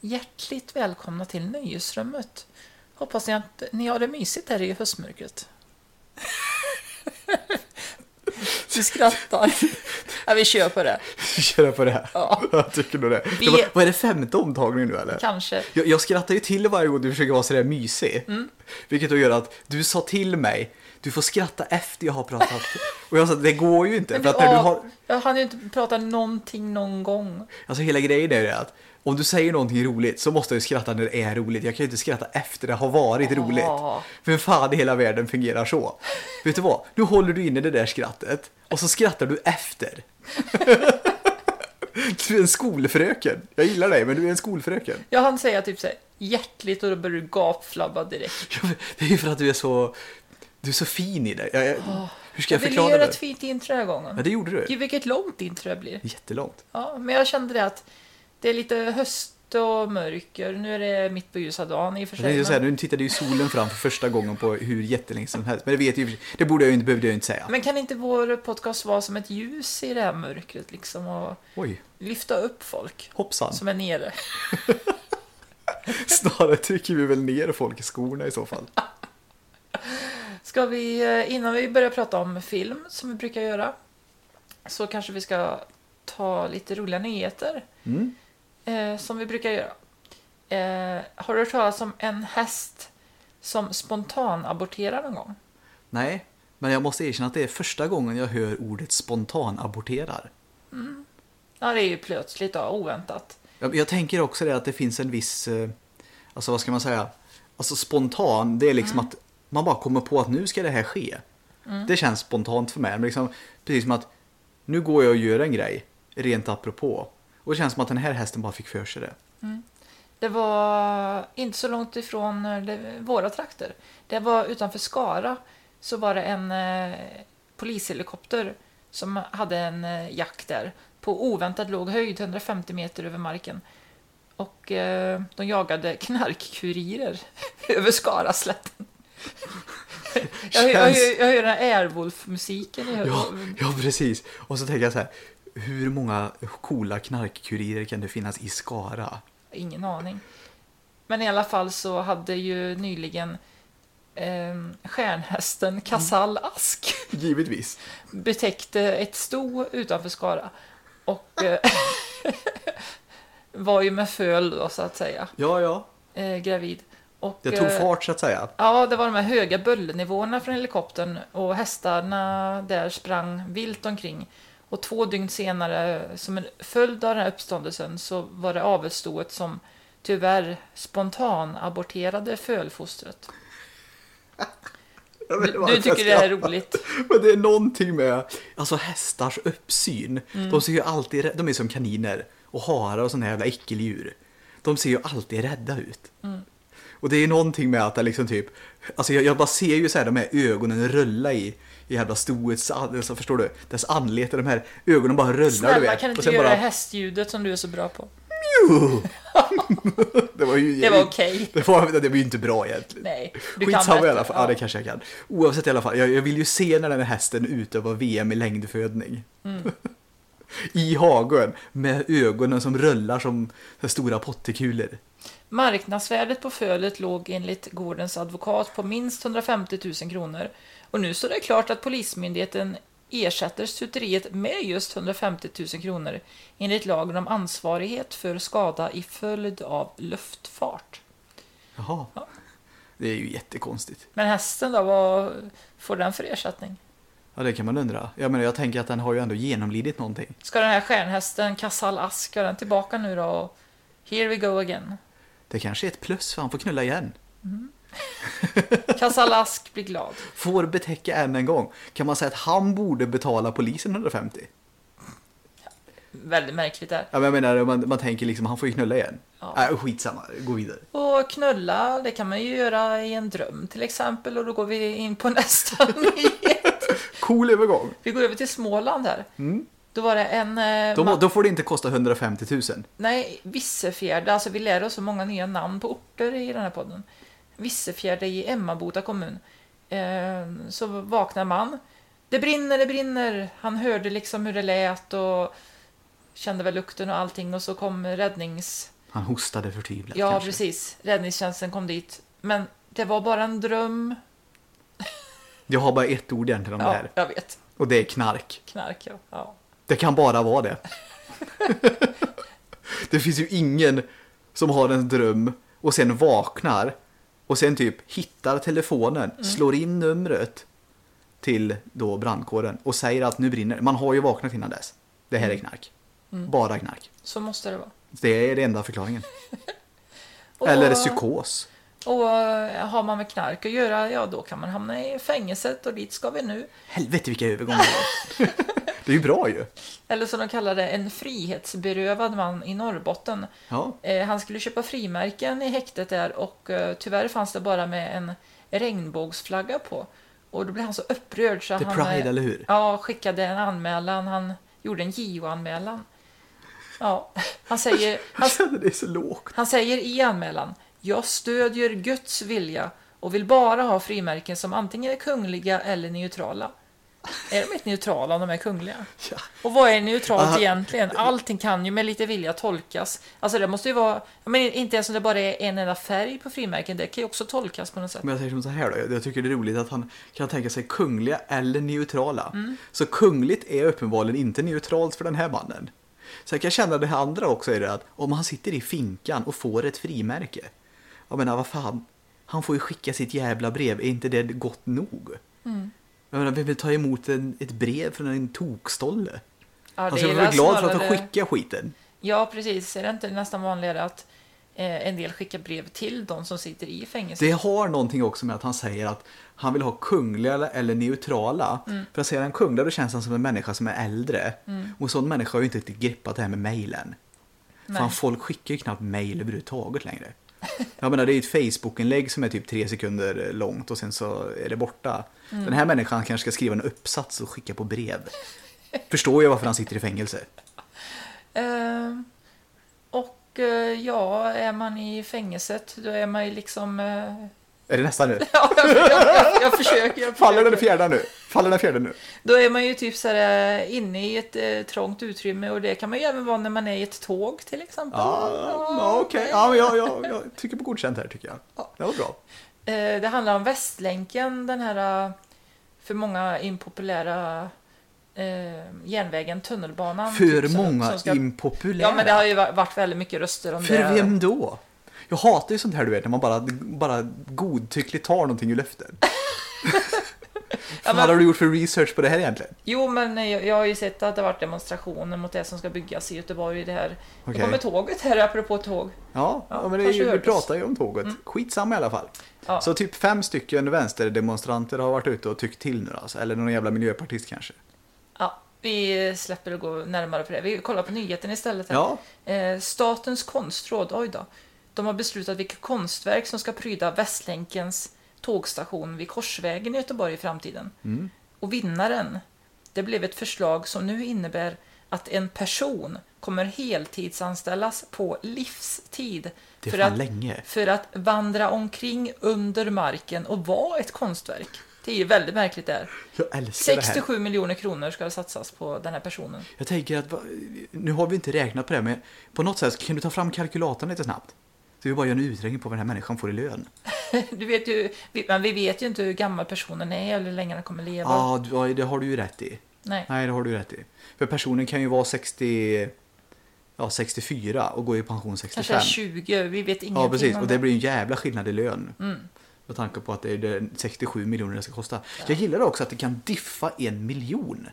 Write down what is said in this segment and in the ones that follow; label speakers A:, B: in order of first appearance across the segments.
A: hjärtligt välkomna till Nöjesrummet. Hoppas ni att ni har det mysigt här i höstmörkret. Vi skrattar. Ja, vi kör på det.
B: Köra på det här.
A: Ja.
B: Jag tycker nog det.
A: Vi-
B: det var, vad är det femte omtagningen nu eller?
A: Kanske.
B: Jag, jag skrattar ju till varje gång du försöker vara sådär mysig.
A: Mm.
B: Vilket då gör att du sa till mig, du får skratta efter jag har pratat. Och jag sa, det går ju inte. För att när du
A: Ja,
B: har,
A: Jag hann ju inte prata någonting någon gång.
B: alltså hela grejen är ju det att om du säger någonting roligt så måste jag ju skratta när det är roligt. Jag kan ju inte skratta efter det har varit roligt. För fan i hela världen fungerar så. Vet du vad? Nu håller du inne det där skrattet och så skrattar du efter. Du är en skolfröken. Jag gillar dig, men du är en skolfröken.
A: Jag hann säga typ såhär hjärtligt och då började du gapflabba direkt.
B: Ja, men Det är ju för att du är så, du är så fin i det. Jag, jag, hur ska
A: Jag ville
B: jag förklara
A: göra ett
B: det?
A: fint intro den här
B: Ja,
A: gången.
B: det gjorde du.
A: Gud vilket långt intro det blir.
B: Jättelångt.
A: Ja, men jag kände det att det är lite höst och mörker. Nu är det mitt på ljusa dagen i och för
B: Jag tänkte
A: sig.
B: säga,
A: Men,
B: nu tittade ju solen fram för första gången på hur jättelänge som helst. Men det vet ju, det borde jag ju inte, behövde jag ju inte säga.
A: men kan inte vår podcast vara som ett ljus i det här mörkret liksom och
B: Oj,
A: lyfta upp folk
B: hoppsan.
A: som är nere?
B: Snarare trycker vi väl ner folk i skorna i så fall.
A: Ska vi, eh, innan vi börjar prata om film som vi brukar göra, så kanske vi ska ta lite roliga nyheter.
B: Mm.
A: eh, som vi brukar göra. Eh, har du hört talas om en häst som spontanaborterar någon gång?
B: Nej, men jag måste erkänna att det är första gången jag hör ordet spontanaborterar.
A: Ja, det är ju plötsligt och oväntat.
B: Jag, jag tänker också det att det finns en viss, eh, alltså vad ska man säga, alltså spontan, det är liksom att man bara kommer på att nu ska det här ske. Det känns spontant för mig, men liksom, precis som att nu går jag och gör en grej, rent apropå. Och det känns som att den här hästen bara fick för sig det.
A: Det var inte så långt ifrån eh, det, våra trakter. Det var utanför Skara så var det en eh, polishelikopter som hade en eh, jakt där på oväntat låg höjd, 150 meter över marken. Och eh, de jagade knarkkurirer över Skaraslätten. Jag, jag,
B: Känns-
A: jag, jag hör den här Airwolf-musiken. i hö-
B: Ja, ja, precis. Och så tänker jag så här, hur många coola knarkkurirer kan det finnas i Skara?
A: Ingen aning. Men i alla fall så hade ju nyligen eh, stjärnhästen Casall Ask
B: Givetvis.
A: betäckte ett sto utanför Skara. Och eh, var ju med föl då så att säga,
B: Ja, ja.
A: eh, gravid. Och,
B: Det tog
A: eh,
B: fart så att säga.
A: Ja, det var de här höga bullernivåerna från helikoptern och hästarna där sprang vilt omkring. Och två dygn senare, som en följd av den här uppståndelsen, så var det avelsstoet som tyvärr spontan aborterade fölfostret.
B: Jag vet inte
A: Du,
B: varför
A: du
B: jag
A: tycker det här är
B: skrattar.
A: roligt?
B: Men det är någonting med alltså hästars uppsyn.
A: Mm.
B: De ser ju alltid rä- de är som kaniner och harar och sådana jävla äckeldjur. De ser ju alltid rädda ut.
A: Mm.
B: Och det är ju någonting med att det liksom typ, alltså jag, jag bara ser ju så här de här ögonen rulla i, i jävla stoets, an- alltså förstår du, dess anlete, de här ögonen bara rullar du
A: Snälla,
B: vet.
A: kan du
B: och
A: inte
B: sen
A: göra
B: bara,
A: hästljudet som du är så bra på?
B: det var ju
A: Det var okej.
B: Det var, det var ju inte bra egentligen.
A: Nej, du kan
B: Skitsamma i
A: bättre,
B: alla fall. Ja.
A: ja.
B: det kanske jag kan. Oavsett i alla fall, jag, jag vill ju se när den här hästen utövar VM i längdfödning.
A: Mm.
B: I hagen med ögonen som rullar som stora pottekulor.
A: Marknadsvärdet på fölet låg enligt gårdens advokat på minst 150 000 kronor och nu står det klart att Polismyndigheten ersätter stuteriet med just 150 000 kronor enligt lagen om ansvarighet för skada i följd av luftfart.
B: Jaha. Det är ju jättekonstigt.
A: Men hästen då, vad får den för ersättning?
B: Ja, det kan man undra. Jag menar, jag tänker att den har ju ändå genomlidit någonting.
A: Ska den här stjärnhästen Casall Ask, ska den tillbaka nu då? Och Here we go again.
B: Det kanske är ett plus för han får knulla igen.
A: Casall Ask blir glad.
B: Får betäcka än en gång. Kan man säga att han borde betala polisen 150?
A: Väldigt märkligt där.
B: Ja, men jag menar, man, man tänker liksom, han får ju knulla igen.
A: Ja.
B: Ja. Äh, skitsamma, gå vidare.
A: Och knulla, det kan man ju göra i en dröm till exempel och då går vi in på nästa nyhet.
B: Cool övergång.
A: Vi går över till Småland här. Då var det en... eh,
B: Mm. Då, må-
A: ma-
B: då får det inte kosta 150 000.
A: Nej, Vissefjärde, alltså vi lär oss så många nya namn på orter i den här podden. Vissefjärde i Emmaboda kommun. Eh, så vaknar man. Det brinner, det brinner. Han hörde liksom hur det lät och kände väl lukten och allting och så kom räddningsbilen
B: Han hostade förtvivlat
A: Ja,
B: kanske.
A: precis. Räddningstjänsten kom dit. Men det var bara en dröm.
B: Jag har bara ett ord egentligen om det
A: Ja,
B: här.
A: jag vet.
B: Och det är knark.
A: Knark, ja. ja.
B: Det kan bara vara det. det finns ju ingen som har en dröm och sen vaknar och sen typ hittar telefonen,
A: Mm.
B: slår in numret till då brandkåren och säger att nu brinner det. Man har ju vaknat innan dess. Det
A: Mm.
B: här är knark. Bara knark.
A: Så måste det vara.
B: Det är den enda förklaringen.
A: Och,
B: Eller psykos.
A: Och eh, har man med knark att göra, ja då kan man hamna i fängelset och dit ska vi nu.
B: Helvete vilka övergångar. det är ju bra ju.
A: Eller som de kallar det, en frihetsberövad man i Norrbotten.
B: Ja.
A: Eh, han skulle köpa frimärken i häktet där och eh, tyvärr fanns det bara med en regnbågsflagga på. Och då blev han så upprörd så
B: The
A: han
B: Pride,
A: eh,
B: eller hur?
A: Ja, skickade en anmälan. Han gjorde en JO-anmälan. Ja, han säger, han,
B: Jag känner det är så lågt.
A: han säger i anmälan Jag stödjer Guds vilja och vill bara ha frimärken som antingen är kungliga eller neutrala. Är de inte neutrala om de är kungliga?
B: Ja.
A: Och vad är neutralt
B: Aha.
A: egentligen? Allting kan ju med lite vilja tolkas. Alltså det måste ju vara, men inte ens om det bara är en enda färg på frimärken, det kan ju också tolkas på något sätt.
B: Men jag säger som så här då, jag tycker det är roligt att han kan tänka sig kungliga eller neutrala. Så kungligt är uppenbarligen inte neutralt för den här mannen. Så jag kan känna det här andra också är det att om han sitter i finkan och får ett frimärke. Jag menar vad fan, han får ju skicka sitt jävla brev, är inte det gott nog? Jag menar vem vill ta emot en, ett brev från en tokstolle?
A: Ja,
B: Han
A: det
B: ska
A: är
B: vara
A: väl
B: alltså, glad för att han
A: snarare-
B: skickar skiten.
A: Ja, precis. Är det inte nästan vanligare att eh, en del skickar brev till de som sitter i fängelse?
B: Det har någonting också med att han säger att han vill ha kungliga eller neutrala. För att säger han kungliga då känns han som en människa som är äldre. Och en sån människa har ju inte riktigt grippat det här med mejlen.
A: Nej.
B: Fan, folk skickar ju knappt mejl överhuvudtaget längre. Jag menar, det är ju ett Facebook-inlägg som är typ tre sekunder långt och sen så är det borta. Den här människan kanske ska skriva en uppsats och skicka på brev. Förstår jag varför han sitter i fängelse.
A: Eh, och eh, ja, är man i fängelset, då är man ju liksom... Eh,
B: Är det nästa nu?
A: ja, jag, jag, jag, jag försöker. Jag
B: Faller den
A: försöker.
B: fjärde nu? Faller den fjärde nu?
A: Då är man ju typ så här, eh, inne i ett eh, trångt utrymme och det kan man ju även vara när man är i ett tåg till exempel.
B: Ja, Ah, ja, okej. Ja, men jag, jag, jag trycker på godkänt här tycker jag. Det var bra.
A: Eh, Det handlar om Västlänken, den här eh, för många impopulära eh, järnvägen, tunnelbanan.
B: För
A: typ, som-
B: många
A: som ska-
B: impopulära.
A: Ja, men det har ju va- varit väldigt mycket röster om det.
B: För vem då? Jag hatar ju sånt här du vet, när man bara, bara godtyckligt tar någonting ur luften.
A: Ja,
B: Vad har
A: men,
B: du gjort för research på det här egentligen?
A: jo, men jag, jag har ju sett att det har varit demonstrationer mot det som ska byggas i Göteborg. Det här.
B: Okej.
A: Nu kommer tåget här, apropå tåg.
B: Ja,
A: Ja,
B: ja men det är
A: kanske
B: ju, vi
A: hördes.
B: pratar ju om tåget. Skitsamma i alla fall.
A: Ja.
B: Så typ fem stycken vänsterdemonstranter har varit ute och tyckt till nu alltså. Eller någon jävla miljöpartist kanske.
A: Ja, vi släpper och går närmare på det. Vi kollar på nyheten istället. Här.
B: Ja.
A: Eh, statens konstråd, oj då. De har beslutat vilka konstverk som ska pryda Västlänkens tågstation vid Korsvägen i Göteborg i framtiden.
B: Mm.
A: Och vinnaren, det blev ett förslag som nu innebär att en person kommer heltidsanställas på livstid
B: Det är
A: för
B: fan
A: att,
B: länge.
A: för att vandra omkring under marken och vara ett konstverk. Det är ju väldigt märkligt där.
B: Jag älskar det här.
A: 67 miljoner kronor ska satsas på den här personen.
B: Jag tänker att, va- nu har vi inte räknat på det, men på något sätt kan du ta fram kalkylatorn lite snabbt? Så vi bara gör en uträkning på vad den här människan får i lön.
A: Du vet ju, vi- men vi vet ju inte hur gammal personen är eller hur länge den kommer leva.
B: Ja, du- det har du ju rätt i.
A: Nej.
B: Nej, det har du rätt i. För personen kan ju vara 60, ja, 64 och gå i pension 65.
A: Kanske är 20, vi vet ingenting
B: Ja, precis.
A: om
B: Och det blir ju en jävla skillnad i lön. Med tanke på att det är det 67 miljoner det ska kosta. Jag gillar också att det kan diffa en miljon.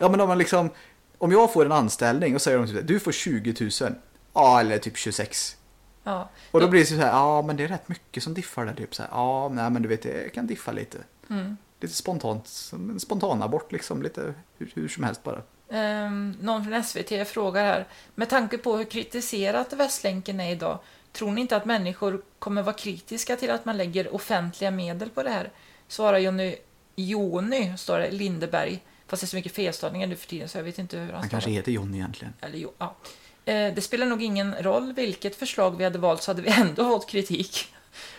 B: ja, men om man liksom... Om jag får en anställning och säger de typ så här, du får 20 000. Ja, eller typ 26.
A: Ja.
B: Och då blir det så här, ja men det är rätt mycket som diffar där typ så här, ja nej men du vet det kan diffa lite. Lite spontant, som en spontanabort liksom, lite hur, hur som helst bara.
A: Ehm, någon från SVT frågar här, med tanke på hur kritiserat Västlänken är idag, tror ni inte att människor kommer vara kritiska till att man lägger offentliga medel på det här? Svarar Jonny, Jonny står det, Lindeberg. Fast det är så mycket felstavningar nu för tiden så jag vet inte hur han
B: Han
A: stavar.
B: kanske heter Johnny egentligen.
A: Eller jo, ja. Eh, Det spelar nog ingen roll vilket förslag vi hade valt så hade vi ändå fått kritik.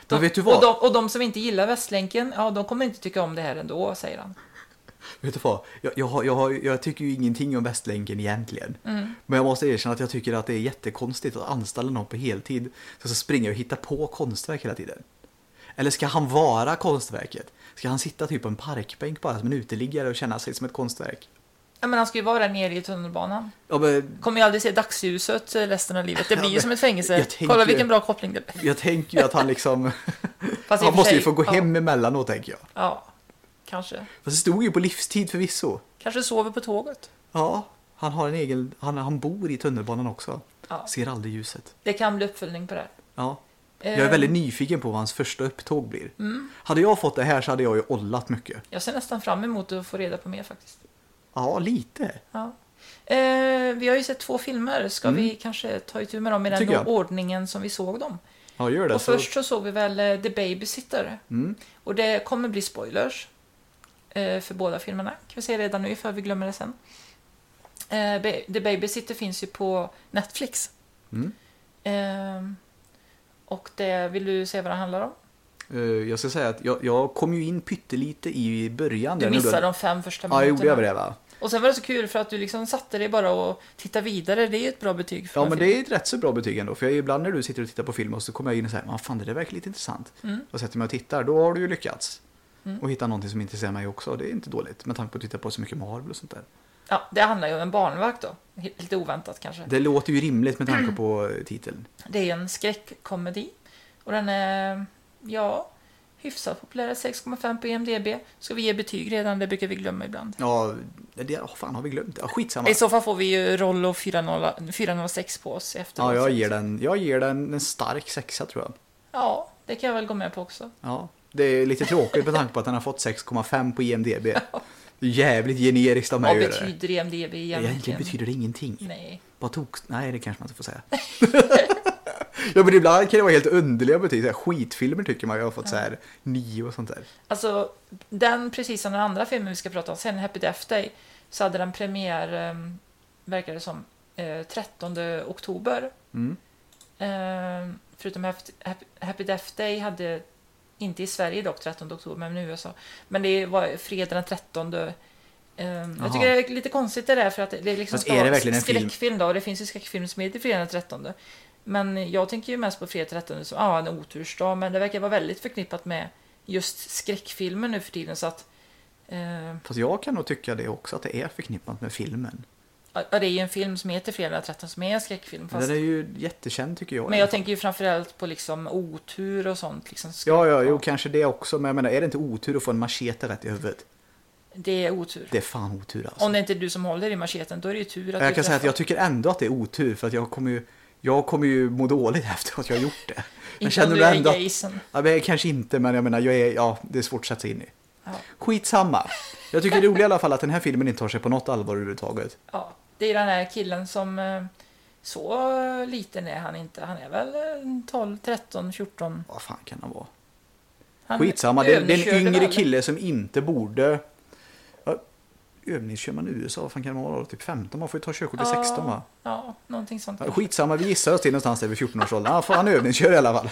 B: Men vet du vad?
A: Och, de, och de som inte gillar Västlänken, ja de kommer inte tycka om det här ändå, säger han.
B: Vet du vad? Jag, jag, har- jag, har- jag tycker ju ingenting om Västlänken egentligen.
A: Mm.
B: Men jag måste erkänna att jag tycker att det är jättekonstigt att anställa någon på heltid som ska springa och hitta på konstverk hela tiden. Eller ska han vara konstverket? Ska han sitta typ på en parkbänk bara som en uteliggare och känna sig som ett konstverk?
A: Ja, men han ska ju vara där nere i tunnelbanan.
B: Ja, men
A: Kommer ju aldrig se dagsljuset eh, resten av livet. Det blir
B: Ja,
A: ju
B: men
A: som ett fängelse.
B: jag tänker-
A: Kolla vilken bra koppling det blir.
B: jag tänker ju att han liksom...
A: Fast i och
B: han
A: för
B: måste ju
A: sig-
B: få gå
A: ja.
B: hem emellanåt tänker jag.
A: Ja, kanske.
B: Fast det stod ju på livstid förvisso.
A: Kanske sover på tåget.
B: Ja, han har en egen... Han, han bor i tunnelbanan också.
A: Ja.
B: Ser aldrig ljuset.
A: Det kan bli uppföljning på det här.
B: Ja. Jag är
A: Eh,
B: väldigt nyfiken på vad hans första upptåg blir.
A: Mm.
B: Hade jag fått det här så hade jag ju ollat mycket.
A: Jag ser nästan fram emot att få reda på mer faktiskt.
B: Ja, lite.
A: Ja. Eh, vi har ju sett två filmer. Ska vi kanske ta itu med dem i den
B: Mm. Tycker jag.
A: ordningen som vi såg dem?
B: Ja, gör det. Mm.
A: Och först så såg vi väl eh, The Babysitter. Och det kommer bli spoilers eh, för båda filmerna. Kan vi säga redan nu ifall vi glömmer det sen. Eh, Ba- The Babysitter finns ju på Netflix.
B: Mm.
A: Eh, och det, vill du säga vad det handlar om?
B: Eh, jag ska säga att jag, jag kom ju in pyttelite i början.
A: Du
B: där.
A: missade de fem första
B: Ja,
A: minuterna.
B: jag gjorde över det va?
A: Och sen var det så kul för att du liksom satte dig bara och tittade vidare. Det är ju ett bra betyg. För
B: Ja,
A: den
B: men
A: filmen.
B: det är ett rätt så bra betyg ändå. För jag, ibland när du sitter och tittar på film och så kommer jag in och säger, "Ah, fan det där verkar lite intressant.
A: Mm.
B: Och sätter mig och tittar, då har du ju lyckats. Och hitta någonting som intresserar mig också. Det är inte dåligt med tanke på att titta på så mycket Marvel och sånt där.
A: Ja, det handlar ju om en barnvakt då. Helt- Lite oväntat kanske.
B: Det låter ju rimligt med
A: Mm.
B: tanke på eh, titeln.
A: Det är en skräckkomedi. Och den är, ja, hyfsat populär. 6,5 på IMDB. Ska vi ge betyg redan? Det brukar vi glömma ibland.
B: Ja, det, oh, fan har vi glömt det? Ja, skitsamma.
A: I så fall får vi ju Rollo 40 406 på oss efteråt.
B: Ja, jag ger den, jag ger den en stark sexa tror jag.
A: Ja, det kan jag väl gå med på också.
B: Ja, det är lite tråkigt med tanke på att den har fått 6,5 på IMDB. Det är jävligt generiskt av mig
A: Vad
B: att göra det.
A: betyder IMDB egentligen?
B: Egentligen betyder det ingenting.
A: Nej.
B: Bara tok... Nej, det kanske man inte får säga. ja, men ibland kan det vara helt underliga betyg. Så här, Skitfilmer tycker man ju har fått så här 9 och sånt där.
A: Alltså, den precis som den andra filmen vi ska prata om sen, Happy Death Day, så hade den premiär, eh, verkar det som, eh, 13 oktober.
B: Mm.
A: Eh, förutom Happy, Happy- Happy Death Day hade, inte i Sverige dock, 13 oktober, men i USA. Men det var fredag den 13. Eh,
B: Jaha.
A: jag tycker det är lite konstigt det där, för att det- det är liksom
B: Fast är det verkligen en film?
A: skräckfilm då, och det finns ju skräckfilm som heter fredag den 13. Men jag tänker ju mest på fredag 13 som ah, en otursdag, men det verkar vara väldigt förknippat med just skräckfilmer nu för tiden. Så att, eh,
B: Fast jag kan nog tycka det också, att det är förknippat med filmen.
A: ja, det är ju en film som heter fredag den 13 som är en skräckfilm. Fast,
B: Den är ju jättekänd tycker jag.
A: men jag tänker ju framförallt på liksom otur och sånt. Liksom, skräck.
B: Ja, ja, jo, kanske det också. Men jag menar, är det inte otur att få en machete rätt i huvudet?
A: Det är otur.
B: Det är fan otur alltså.
A: Om det inte är du som håller i macheten, då är det ju tur att
B: Jag
A: du
B: kan säga att
A: träffar.
B: jag tycker ändå att det är otur för att jag kommer ju, jag kommer ju må dåligt efter att jag har gjort det. Men
A: Inte
B: känner
A: om
B: du
A: du är
B: ändå att,
A: gaysen.
B: ja, men kanske inte men jag menar jag är, ja det är svårt att sätta sig in i.
A: Ja.
B: Skitsamma. Jag tycker det är roligt i alla fall att den här filmen inte tar sig på något allvar överhuvudtaget.
A: Ja, det är den här killen som eh, så eh, liten är han inte. Han är väl eh, 12, 13, 14.
B: Vad fan kan han vara?
A: Han
B: Skitsamma, det, det är
A: övningskörde
B: en yngre
A: väl.
B: kille som inte borde... Ja, övningskör man i USA, vad fan kan man vara då? Typ 15? Man får ju ta körkort vid 16 va?
A: Ja, någonting sånt.
B: Ja, Skitsamma, vi gissar oss till någonstans där vid 14-årsåldern. Ja, fan, han övningskör i alla fall.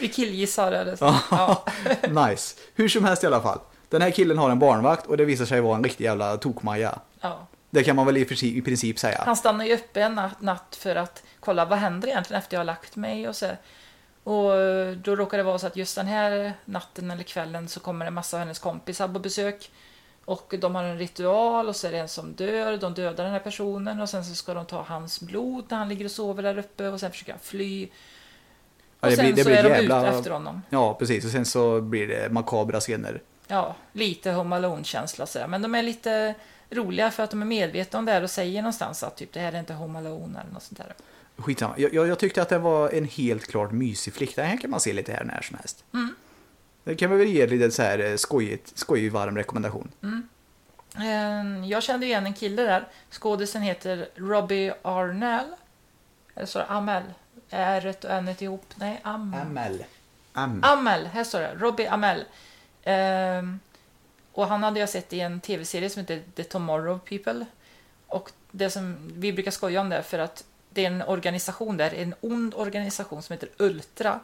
A: Vi killgissar eller så. Ja.
B: nice. Hur som helst i alla fall. Den här killen har en barnvakt och det visar sig vara en riktig jävla tokmaja.
A: Ja.
B: Det kan man väl i princip, i princip säga.
A: Han stannar ju uppe en natt, natt för att kolla vad händer egentligen efter jag har lagt mig och så. Och eh, då råkar det vara så att just den här natten eller kvällen så kommer en massa av hennes kompisar på besök. Och de har en ritual och så är det en som dör, de dödar den här personen och sen så ska de ta hans blod när han ligger och sover där uppe och sen försöker han fly.
B: Ja,
A: Och
B: det
A: sen
B: blir- det
A: så
B: blir
A: är de
B: jävla-
A: ute efter honom.
B: Ja, precis. Och sen så blir det makabra scener.
A: Ja, lite Home Alone-känsla sådär. Men de är lite roliga för att de är medvetna om det här och säger någonstans att typ det här är inte Home Alone eller något sånt där.
B: Skitsamma. Jag, jag, jag tyckte att det var en helt klart mysig flicka. Den här kan man se lite här när som helst.
A: Mm.
B: Det kan man väl ge lite så här eh, skojigt, skojig varm rekommendation.
A: Eh, Jag kände igen en kille där. Skådisen heter Robbie Arnell. Eller så är det Amel. Är ett och n ihop? Nej, Am.
B: Amel. Am.
A: Amel, här står det. Robbie Amel. Ehm, och han hade jag sett i en tv-serie som heter The Tomorrow People. Och det som vi brukar skoja om det för att det är en organisation där, en ond organisation som heter Ultra.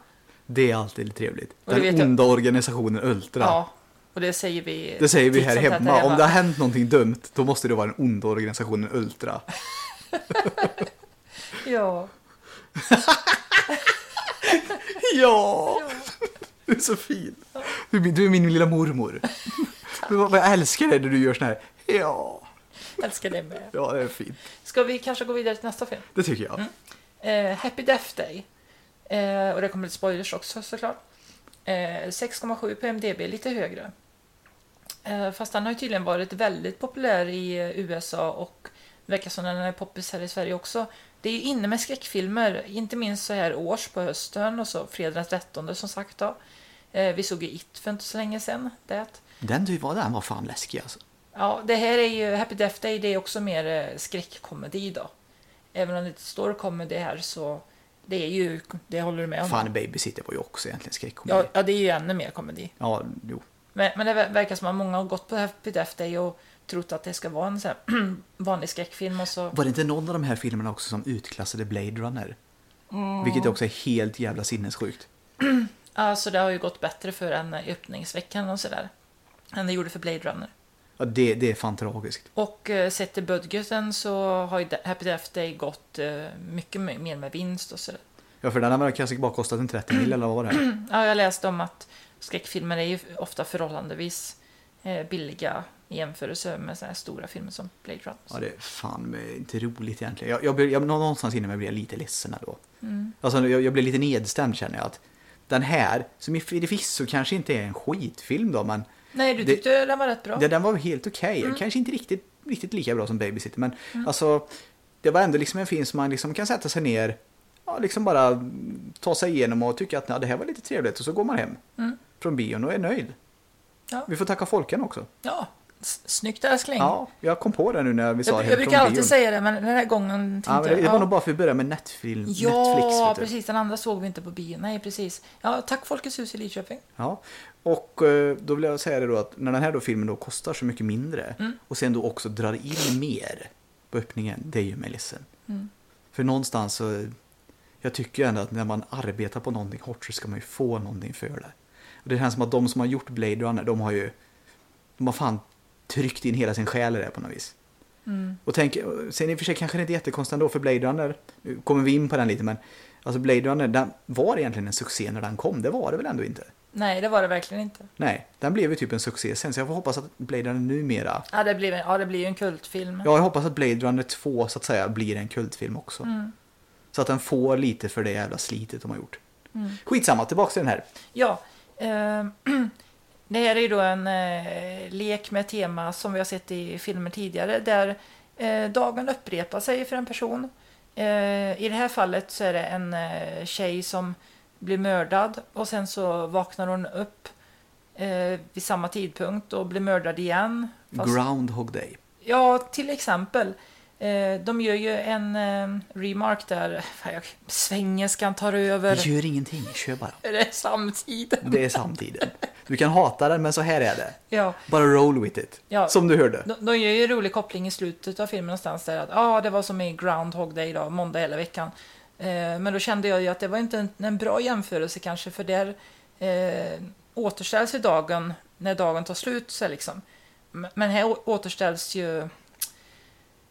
B: Det är alltid trevligt.
A: Och det
B: Den
A: vet jag-
B: onda organisationen Ultra.
A: Ja. Och det säger vi
B: Det säger vi
A: titt
B: här
A: som tätt
B: hemma. Om det har hänt någonting dumt, då måste det vara den onda organisationen Ultra.
A: Ja.
B: Ja! Du är så fin. Du är min, du är min lilla mormor. Vad- vad Jag älskar det när du gör sån här. Ja,
A: Älskar det med.
B: ja det är fint.
A: Ska vi kanske gå vidare till nästa film?
B: Det tycker jag.
A: Eh, Happy Death Day. Eh, och det kommer lite spoilers också såklart. Eh, 6,7 på MDB, lite högre. Eh, fast den har ju tydligen varit väldigt populär i eh, USA och verkar som den är poppis här i Sverige också. Det är ju inne med skräckfilmer, inte minst så här års på hösten och så fredag den 13 som sagt då. Eh, vi såg ju It för inte så länge sedan. Det.
B: Den du var, den var fan läskig alltså.
A: Ja, det här är ju Happy Death Day, det är också mer eh, skräckkomedi då. Även om det inte står comedy här så det är ju, det håller du med om?
B: Fan, Babysitter var ju också egentligen skräckkomedi.
A: Ja,
B: Ja.
A: ja, det är ju ännu mer komedi.
B: ja, jo.
A: Men, men det ver- verkar som att många har gått på Happy Death Day och trott att det ska vara en sån här vanlig skräckfilm och så.
B: Var det inte någon av de här filmerna också som utklassade Blade Runner? Vilket också är helt jävla sinnessjukt.
A: Alltså det har ju gått bättre för en i öppningsveckan och sådär. Än det gjorde för Blade Runner.
B: Ja, det, det är fan tragiskt.
A: Och eh, sett till budgeten så har ju Happy Death Day gått eh, mycket mer mer med vinst och sådär.
B: Ja, för den här kanske bara kostat en 30 mil eller vad var det?
A: Ja, jag läste om att skräckfilmer är ju ofta förhållandevis eh, billiga i jämförelse med såna här stora filmer som Blade Runner.
B: Ja, det är fan med, inte roligt egentligen. Jag, jag, blir- jag, någonstans inom mig blir jag lite ledsen ändå.
A: Mm.
B: Alltså, jag, jag blir lite nedstämd känner jag. att Den här, som i förvisso kanske inte är en skitfilm då, men
A: Nej, du
B: det-
A: tyckte den var rätt bra.
B: Den, den var helt okej.
A: Mm.
B: Kanske inte riktigt, riktigt lika bra som Babysitter. Men alltså, det var ändå liksom en film som man liksom kan sätta sig ner, ja, liksom bara mm, ta sig igenom och tycka att ja, det här var lite trevligt. Och så går man hem från bion och är nöjd.
A: Mm. Ja.
B: Vi får tacka folken också.
A: Ja, s- snyggt älskling.
B: Ja, jag kom på det nu när vi sa
A: jag,
B: hem
A: jag
B: från
A: brukar alltid
B: bion.
A: säga det, men den här gången tänkte
B: Ja, men det, det var
A: jag...
B: nog bara för att vi började med Netflix. Netflix
A: ja,
B: vet du.
A: precis. Den andra såg vi inte på bio. Nej, precis. Ja, tack Folkets hus i Lidköping.
B: Ja. Och eh, då vill jag säga det då att när den här då filmen då kostar så mycket mindre och sen då också drar in mer på öppningen, det gör mig ledsen. För någonstans så, jag tycker ju ändå att när man arbetar på någonting hårt så ska man ju få någonting för det. Och det känns som att de som har gjort Blade Runner, de har ju, de har fan tryckt in hela sin själ i det på något vis. Och tänk, sen i och för sig kanske det inte är jättekonstigt ändå för Blade Runner, nu kommer vi in på den lite men, alltså Blade Runner, den var egentligen en succé när den kom, det var det väl ändå inte?
A: Nej, det var det verkligen inte.
B: Nej, den blev ju typ en succé sen, så jag får hoppas att Blade Runner numera...
A: Ja, det blir, ja, det blir ju en kultfilm.
B: Ja, jag hoppas att Blade Runner 2 så att säga blir en kultfilm också.
A: Mm.
B: Så att den får lite för det jävla slitet de har gjort.
A: Mm.
B: Skitsamma, tillbaka till den här.
A: Ja. Eh, det här är ju då en eh, lek med tema som vi har sett i filmer tidigare där eh, dagen upprepar sig för en person. Eh, I det här fallet så är det en eh, tjej som blir mördad och sen så vaknar hon upp eh, vid samma tidpunkt och blir mördad igen. Fast-
B: Groundhog Day.
A: Ja, till exempel. Eh, de gör ju en eh, remark där fan, jag- svengelskan tar över.
B: Det gör ingenting, kör bara.
A: Är det samtiden?
B: Det är samtiden. Du kan hata den, men så här är det.
A: Ja.
B: Bara roll with it.
A: Ja.
B: Som du hörde.
A: De, de gör ju en rolig koppling i slutet av filmen någonstans där att ja, ah, det var som i Groundhog Day då, måndag hela veckan. Eh, men då kände jag ju att det var inte en, en bra jämförelse kanske för där eh, återställs ju dagen när dagen tar slut så här liksom. M- Men här å- återställs ju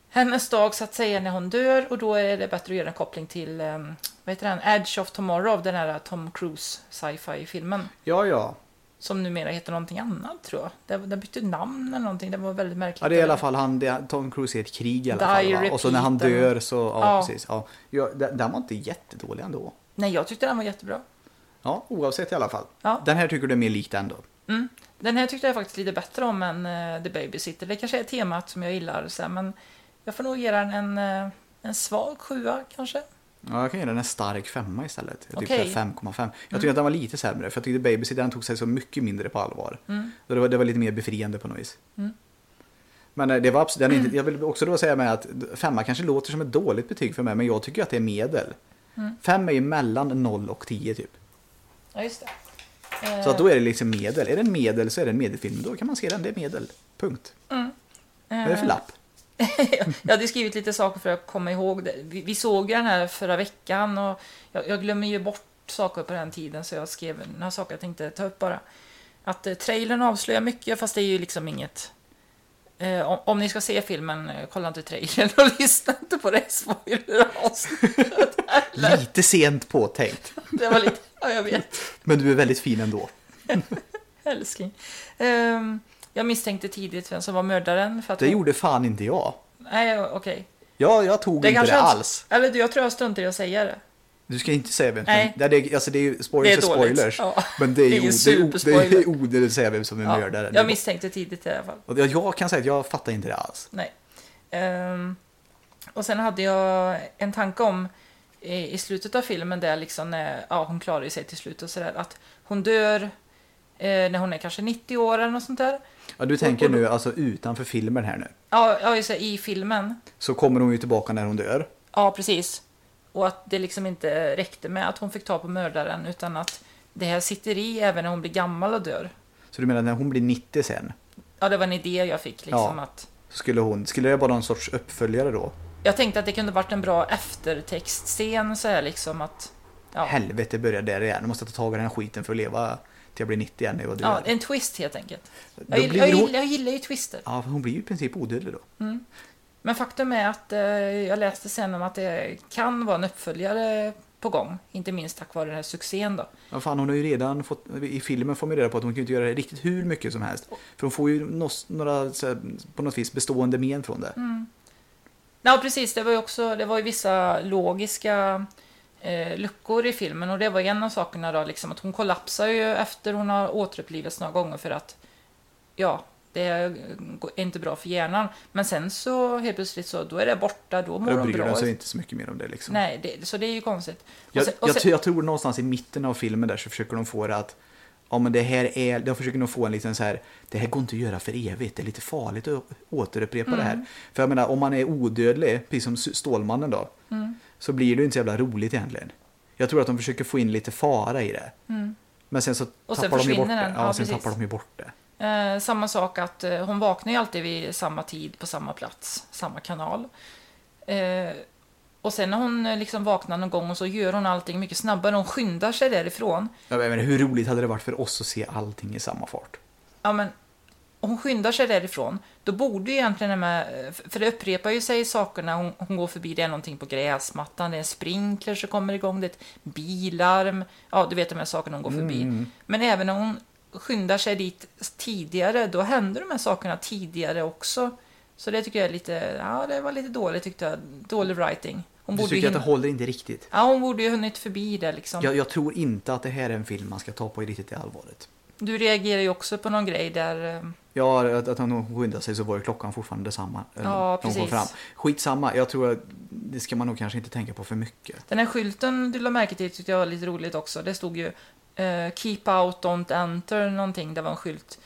A: hennes dag så att säga när hon dör och då är det bättre att göra en koppling till eh, vad heter den? Edge of Tomorrow, den här Tom Cruise sci-fi filmen.
B: Ja, ja.
A: Som numera heter någonting annat tror jag. Den- Den bytte namn eller någonting, det var väldigt märkligt.
B: Ja, det är i alla fall han, det är Tom Cruise i ett krig i alla
A: Die,
B: fall. Va? Och så när han
A: repeat, eller-
B: dör så, ja,
A: Ja.
B: precis. Ja. Ja, den den var inte jättedålig ändå.
A: Nej, jag tyckte den var jättebra.
B: Ja, oavsett i alla fall.
A: Ja.
B: Den här tycker du är mer lik den då?
A: Mm. Den här tyckte jag faktiskt lite bättre om än eh, The Babysitter. Det kanske är temat som jag gillar, så här, men jag får nog ge den en, eh, en svag sjua kanske.
B: Ja, jag kan ge den en stark femma istället. Jag tyckte
A: Okej.
B: 5,5. Jag tyckte att den var lite sämre, för jag tyckte Babysittaren tog sig så mycket mindre på allvar. Så Det, var, det var lite mer befriande på något vis. Men eh, det var absolut, den är inte, jag vill också då säga med att femma kanske låter som ett dåligt betyg för mig, men jag tycker att det är medel. Fem är ju mellan 0 och 10 typ.
A: Ja, just det. Eh,
B: Så att då är det liksom medel. Är det en medel så är det en medelfilm. Då kan man se den, det är medel. Punkt. Vad är
A: eh.
B: det för lapp?
A: jag hade skrivit lite saker för att komma ihåg det. Vi, vi såg ju den här förra veckan och jag, jag glömmer ju bort saker på den tiden så jag skrev några saker jag tänkte ta upp bara. Att eh, trailern avslöjar mycket, fast det är ju liksom inget... Eh, om, om ni ska se filmen, eh, kolla inte trailern och lyssna inte på det spoileravsnittet heller.
B: Lite sent påtänkt,
A: Det var lite... Ja, jag vet.
B: men du är väldigt fin ändå.
A: Älskling. Ehm, jag misstänkte tidigt vem som var mördaren. För att
B: Det
A: hon-
B: gjorde fan inte jag.
A: Nej, okej.
B: Jag, jag tog inte det
A: jag inte-
B: alls.
A: Eller du, jag tror jag struntar i att säga det.
B: Du ska inte säga vem som...
A: Nej.
B: Nej. Det, är- alltså det är ju spoilers
A: Det är
B: och
A: dåligt.
B: spoilers.
A: Ja.
B: Men det
A: Det
B: är ju
A: är ju
B: det är o- det är- det
A: superspoiler.
B: är onödigt att säga vem som är mördaren.
A: jag misstänkte tidigt i alla fall.
B: Och jag- jag kan säga att jag fattar inte det alls.
A: Nej. Ehm, och sen hade jag en tanke om i, i slutet av filmen där liksom när, ja, hon klarar ju sig till slut och sådär att hon dör eh, när hon är kanske 90 år eller något sånt där.
B: Ja, du tänker nu alltså utanför filmen här nu.
A: Ja, ja just det, i filmen.
B: Så kommer hon ju tillbaka när hon dör.
A: Ja, precis. Och att det liksom inte räckte med att hon fick ta på mördaren utan att det här sitter i även när hon blir gammal och dör.
B: Så du menar när hon blir 90 sen?
A: Ja, det var en idé jag fick liksom
B: Ja.
A: att
B: Så skulle hon... Skulle det vara någon sorts uppföljare då?
A: jag tänkte att det kunde varit en bra eftertextscen så här liksom att ja.
B: Helvete börjar där igen. Jag måste ta tag i den här skiten för att leva till jag blir 90 igen när jag dör.
A: Ja,
B: Ja,
A: en twist helt enkelt.
B: Då
A: Jag, gill,
B: blir
A: jag,
B: det-
A: gillar, jag gillar ju twister.
B: för hon blir ju i princip odödlig då.
A: Men faktum är att eh, jag läste sen om att det kan vara en uppföljare på gång. Inte minst tack vare den här succén då.
B: Ja, fan, hon har ju redan fått, i filmen får man ju reda på att hon kan ju inte göra riktigt hur mycket som helst. För hon får ju nås, några, så här, på något vis bestående men från det.
A: Ja, precis. Det var ju också, det var ju vissa logiska eh, luckor i filmen och det var en av sakerna då liksom att hon kollapsar ju efter hon har återupplivits några gånger för att ja, det är inte bra för hjärnan. Men sen så helt plötsligt så då är det borta, då mår
B: Då
A: hon
B: bryr
A: bra.
B: hon sig inte så mycket mer om det liksom.
A: Nej, det, så det är ju konstigt. Och
B: jag,
A: sen- och
B: jag,
A: sen-
B: tror- jag tror någonstans i mitten av filmen där så försöker de få det att Ja men det här är, de försöker nog få en liten så här, det här går inte att göra för evigt, det är lite farligt att återupprepa det
A: Mm.
B: här. För jag menar om man är odödlig, precis som Stålmannen då,
A: Mm.
B: så blir det ju inte så jävla roligt egentligen. Jag tror att de försöker få in lite fara i det. Men sen så
A: Mm. Och sen
B: tappar de ju bort
A: försvinner
B: det.
A: den.
B: Ja,
A: Ja,
B: sen
A: precis.
B: tappar de ju bort det.
A: Eh, samma sak att eh, hon vaknar ju alltid vid samma tid på samma plats, samma kanal. Eh, och sen när hon eh, liksom vaknar någon gång och så gör hon allting mycket snabbare. Hon skyndar sig därifrån.
B: Jag menar, hur roligt hade det varit för oss att se allting i samma fart?
A: Ja, men hon skyndar sig därifrån. Då borde ju egentligen den här, eh, f- för det upprepar ju sig saker när hon, hon går förbi. Det är någonting på gräsmattan, det är en sprinkler som kommer igång, det är ett bilarm. Ja, du vet de här sakerna hon går förbi.
B: Mm.
A: Men även när hon skyndar sig dit tidigare, då händer de här sakerna tidigare också. Så det tycker jag är lite, ja det var lite dåligt tyckte jag. Dålig writing. Hon
B: Du
A: borde, ju
B: tycker att det
A: hinna,
B: håller inte riktigt?
A: ja, hon borde ju hunnit förbi det liksom.
B: Jag, jag tror inte att det här är en film man ska ta på i riktigt i allvaret.
A: Du reagerar ju också på någon grej där eh,
B: Ja, att, att hon skyndade sig så var ju klockan fortfarande detsamma.
A: Ja,
B: eh, när hon
A: precis.
B: kom Fram. Skitsamma, jag tror att det ska man nog kanske inte tänka på för mycket.
A: Den här skylten du la märke till tyckte jag var lite roligt också. Det stod ju eh, Keep out, don't enter någonting. Det var en skylt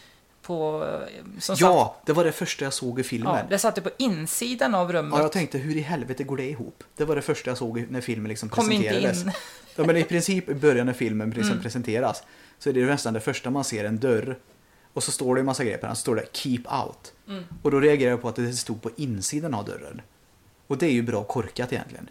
A: på... eh, Som satt,
B: Ja, det var det första jag såg i
A: ja,
B: filmen. Ja,
A: det satt ju på insidan av rummet.
B: jag tänkte hur i helvete går det ihop? Det var det första jag såg i- när filmen liksom
A: Kom inte
B: presenterades.
A: in. Mm.
B: Ja, men i princip i början när filmen liksom presenteras så är det nästan det första man ser en dörr och så står det en massa grejer på den. Så står det Keep out.
A: Mm.
B: Och då reagerar jag på att det stod på insidan av dörren. Och det är ju bra korkat egentligen.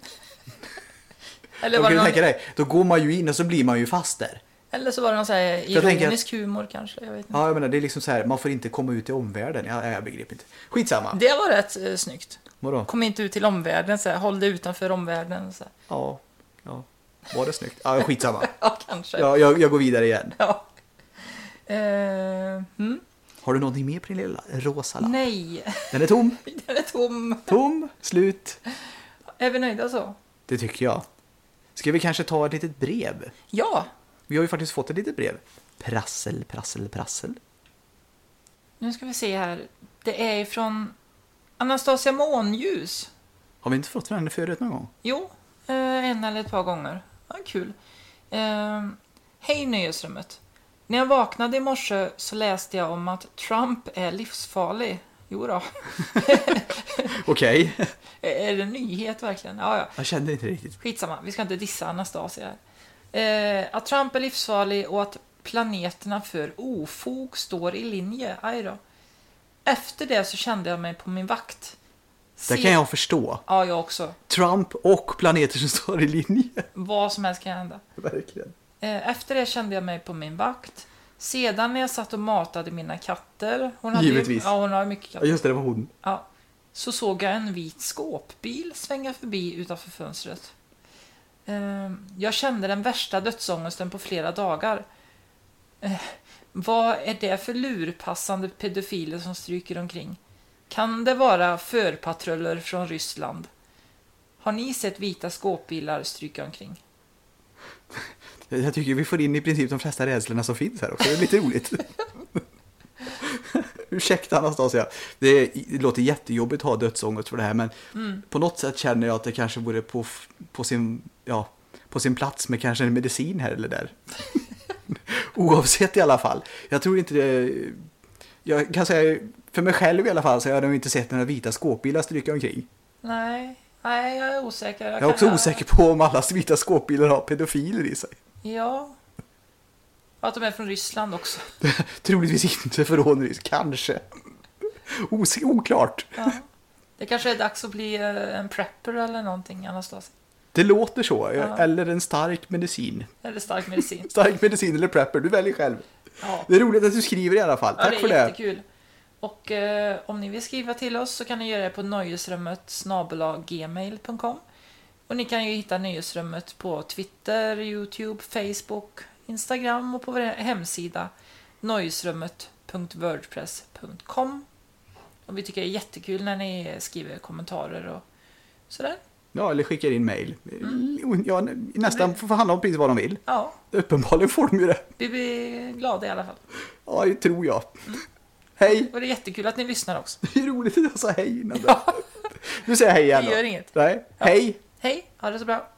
A: eller,
B: Då
A: var
B: kan
A: det
B: du tänka
A: någon,
B: dig, då går man ju in och så blir man ju fast där.
A: eller så var det någon så här
B: jag tänker
A: ironisk humor kanske. Jag vet inte.
B: Ja, jag menar, det är liksom så här, man får inte komma ut i omvärlden. Jag, jag begriper inte. Skitsamma.
A: Det var rätt eh, snyggt.
B: Vadå?
A: Kom inte ut till omvärlden, så här, håll dig utanför omvärlden. Så här.
B: Ja, ja. Var det snyggt? Ja, skitsamma.
A: Ja, kanske.
B: Ja, jag, jag går vidare igen.
A: Ja. Eh, mm.
B: Har du någonting mer på din lilla rosa lapp?
A: Nej,
B: Den är tom.
A: den är tom.
B: Tom. Slut.
A: Är vi nöjda så?
B: Det tycker jag. Ska vi kanske ta ett litet brev?
A: Ja,
B: Vi har ju faktiskt fått ett litet brev. Prassel, prassel, prassel.
A: nu ska vi se här. Det är ifrån Anastasia Månljus.
B: Har vi inte fått den förut någon gång?
A: Jo, eh, en eller ett par gånger. Ja, kul. Eh, Hej Nöjesrummet. När jag vaknade i morse så läste jag om att Trump är livsfarlig. Jo då.
B: Okej.
A: Är det en nyhet verkligen? Ja, ja.
B: Jag kände inte riktigt.
A: Skitsamma, vi ska inte dissa Anastasia. här. Eh, att Trump är livsfarlig och att planeterna för ofog står i linje. Aj då. Efter det så kände jag mig på min vakt.
B: Det
A: Se-
B: kan jag förstå.
A: Ja, jag också.
B: Trump och planeter som står i linje.
A: Vad som helst kan hända.
B: Verkligen.
A: Eh, Efter det kände jag mig på min vakt. Sedan när jag satt och matade mina katter, hon hade
B: Givetvis.
A: Ju, ja, hon har mycket
B: Ja,
A: katter,
B: just det, det var hon.
A: ja, så såg jag en vit skåpbil svänga förbi utanför fönstret. Ehm, Jag kände den värsta dödsångesten på flera dagar. Eh, Vad är det för lurpassande pedofiler som stryker omkring? Kan det vara förpatruller från Ryssland? Har ni sett vita skåpbilar stryka omkring?
B: Jag tycker vi får in i princip de flesta rädslorna som finns här också. Det är lite roligt. Ursäkta Anastasia. Det, är, det låter jättejobbigt att ha dödsångest för det här men på något sätt känner jag att det kanske vore på, f- på, sin, ja, på sin plats med kanske en medicin här eller där. Oavsett i alla fall. Jag tror inte det... Jag kan säga för mig själv i alla fall så har jag nog inte sett några vita skåpbilar stryka omkring.
A: Nej, nej jag är osäker.
B: Jag är också osäker på om alla vita skåpbilar har pedofiler i sig.
A: Ja. Att de är från Ryssland också.
B: Troligtvis inte för rånrisk, kanske. Os- oklart.
A: Ja. Det kanske är dags att bli eh, en prepper eller någonting, Anastasia.
B: Det låter så,
A: Ja.
B: eller en stark medicin.
A: Eller stark medicin.
B: Stark medicin eller prepper, du väljer själv.
A: Ja,
B: Det är roligt att du skriver i alla fall,
A: ja
B: tack
A: det
B: för
A: är
B: det.
A: jättekul. Och eh, om ni vill skriva till oss så kan ni göra det på nöjesrummet gmail.com Och ni kan ju hitta Nöjesrummet på Twitter, Youtube, Facebook, Instagram och på vår hemsida nöjesrummet.wordpress.com Och vi tycker det är jättekul när ni skriver kommentarer och sådär.
B: Ja, eller skickar in mail.
A: Mm.
B: Ja, nä- nästan får handla om precis vad de vill.
A: Ja,
B: Uppenbarligen får de ju det.
A: vi blir glada i alla fall.
B: Ja, det tror jag. Hej!
A: Och det är jättekul att ni lyssnar också.
B: Det är roligt att jag sa hej innan. där. Nu säger jag hej igen
A: Det
B: då.
A: gör inget.
B: Nej, hej!
A: Hej, ha det så bra.